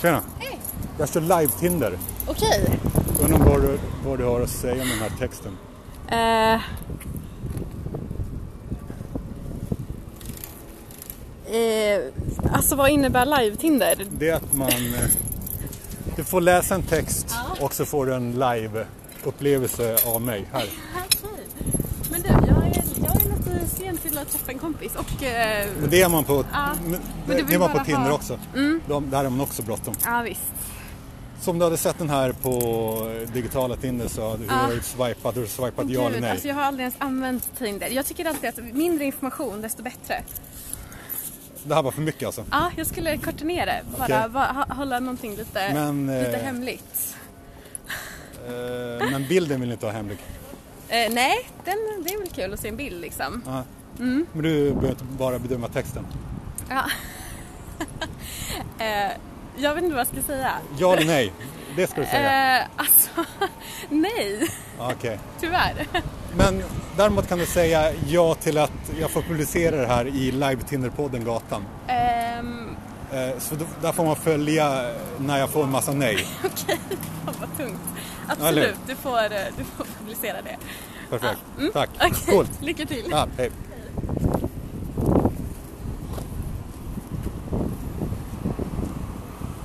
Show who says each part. Speaker 1: Tjena!
Speaker 2: Hej!
Speaker 1: Jag kör live-Tinder.
Speaker 2: Okej.
Speaker 1: Undrar vad du, vad du har att säga om den här texten.
Speaker 2: Eh. Eh, alltså vad innebär live-Tinder?
Speaker 1: Det är att man... eh, Du får läsa en text och så får du en live-upplevelse av mig här.
Speaker 2: Men du, jag är, jag är lite sen till att träffa en kompis och... eh,
Speaker 1: Men det är man på,
Speaker 2: Ja,
Speaker 1: men
Speaker 2: men du
Speaker 1: det
Speaker 2: vill
Speaker 1: är man på
Speaker 2: bara
Speaker 1: Tinder
Speaker 2: ha- Mm.
Speaker 1: också. De, där har man också bråttom.
Speaker 2: Ja, visst.
Speaker 1: Som du hade sett den här på eh, digitala Tinder så hade du ah. swipat, du swipat ja eller
Speaker 2: Gud,
Speaker 1: nej.
Speaker 2: Alltså jag har aldrig ens använt Tinder. Jag tycker alltid att mindre information, desto bättre.
Speaker 1: Det här var för mycket alltså.
Speaker 2: Ja, jag skulle korta ner det. Bara,
Speaker 1: Okej.
Speaker 2: va- ha- hålla någonting lite,
Speaker 1: Men, eh,
Speaker 2: lite hemligt.
Speaker 1: Eh, Men bilden vill ni inte ha hemlig.
Speaker 2: Eh, nej, den, det är väl kul att se en bild liksom.
Speaker 1: Ja. Men du behöver bara bedöma texten.
Speaker 2: Ja. eh, jag vet inte vad jag ska säga.
Speaker 1: Ja eller nej? Det ska du säga. Ah,
Speaker 2: Eh, alltså, nej,
Speaker 1: Okej.
Speaker 2: tyvärr.
Speaker 1: Men däremot kan du säga ja till att jag får publicera det här i live-Tinder-podden Gatan.
Speaker 2: Ehm,
Speaker 1: Eh, Så då- där får man följa när jag får en massa nej.
Speaker 2: fan vad tungt.
Speaker 1: Eller hur?
Speaker 2: Absolut, du får, eh, du får publicera det.
Speaker 1: Perfekt. Tack.
Speaker 2: Okej,
Speaker 1: Coolt.
Speaker 2: lycka till.
Speaker 1: Ja, hej.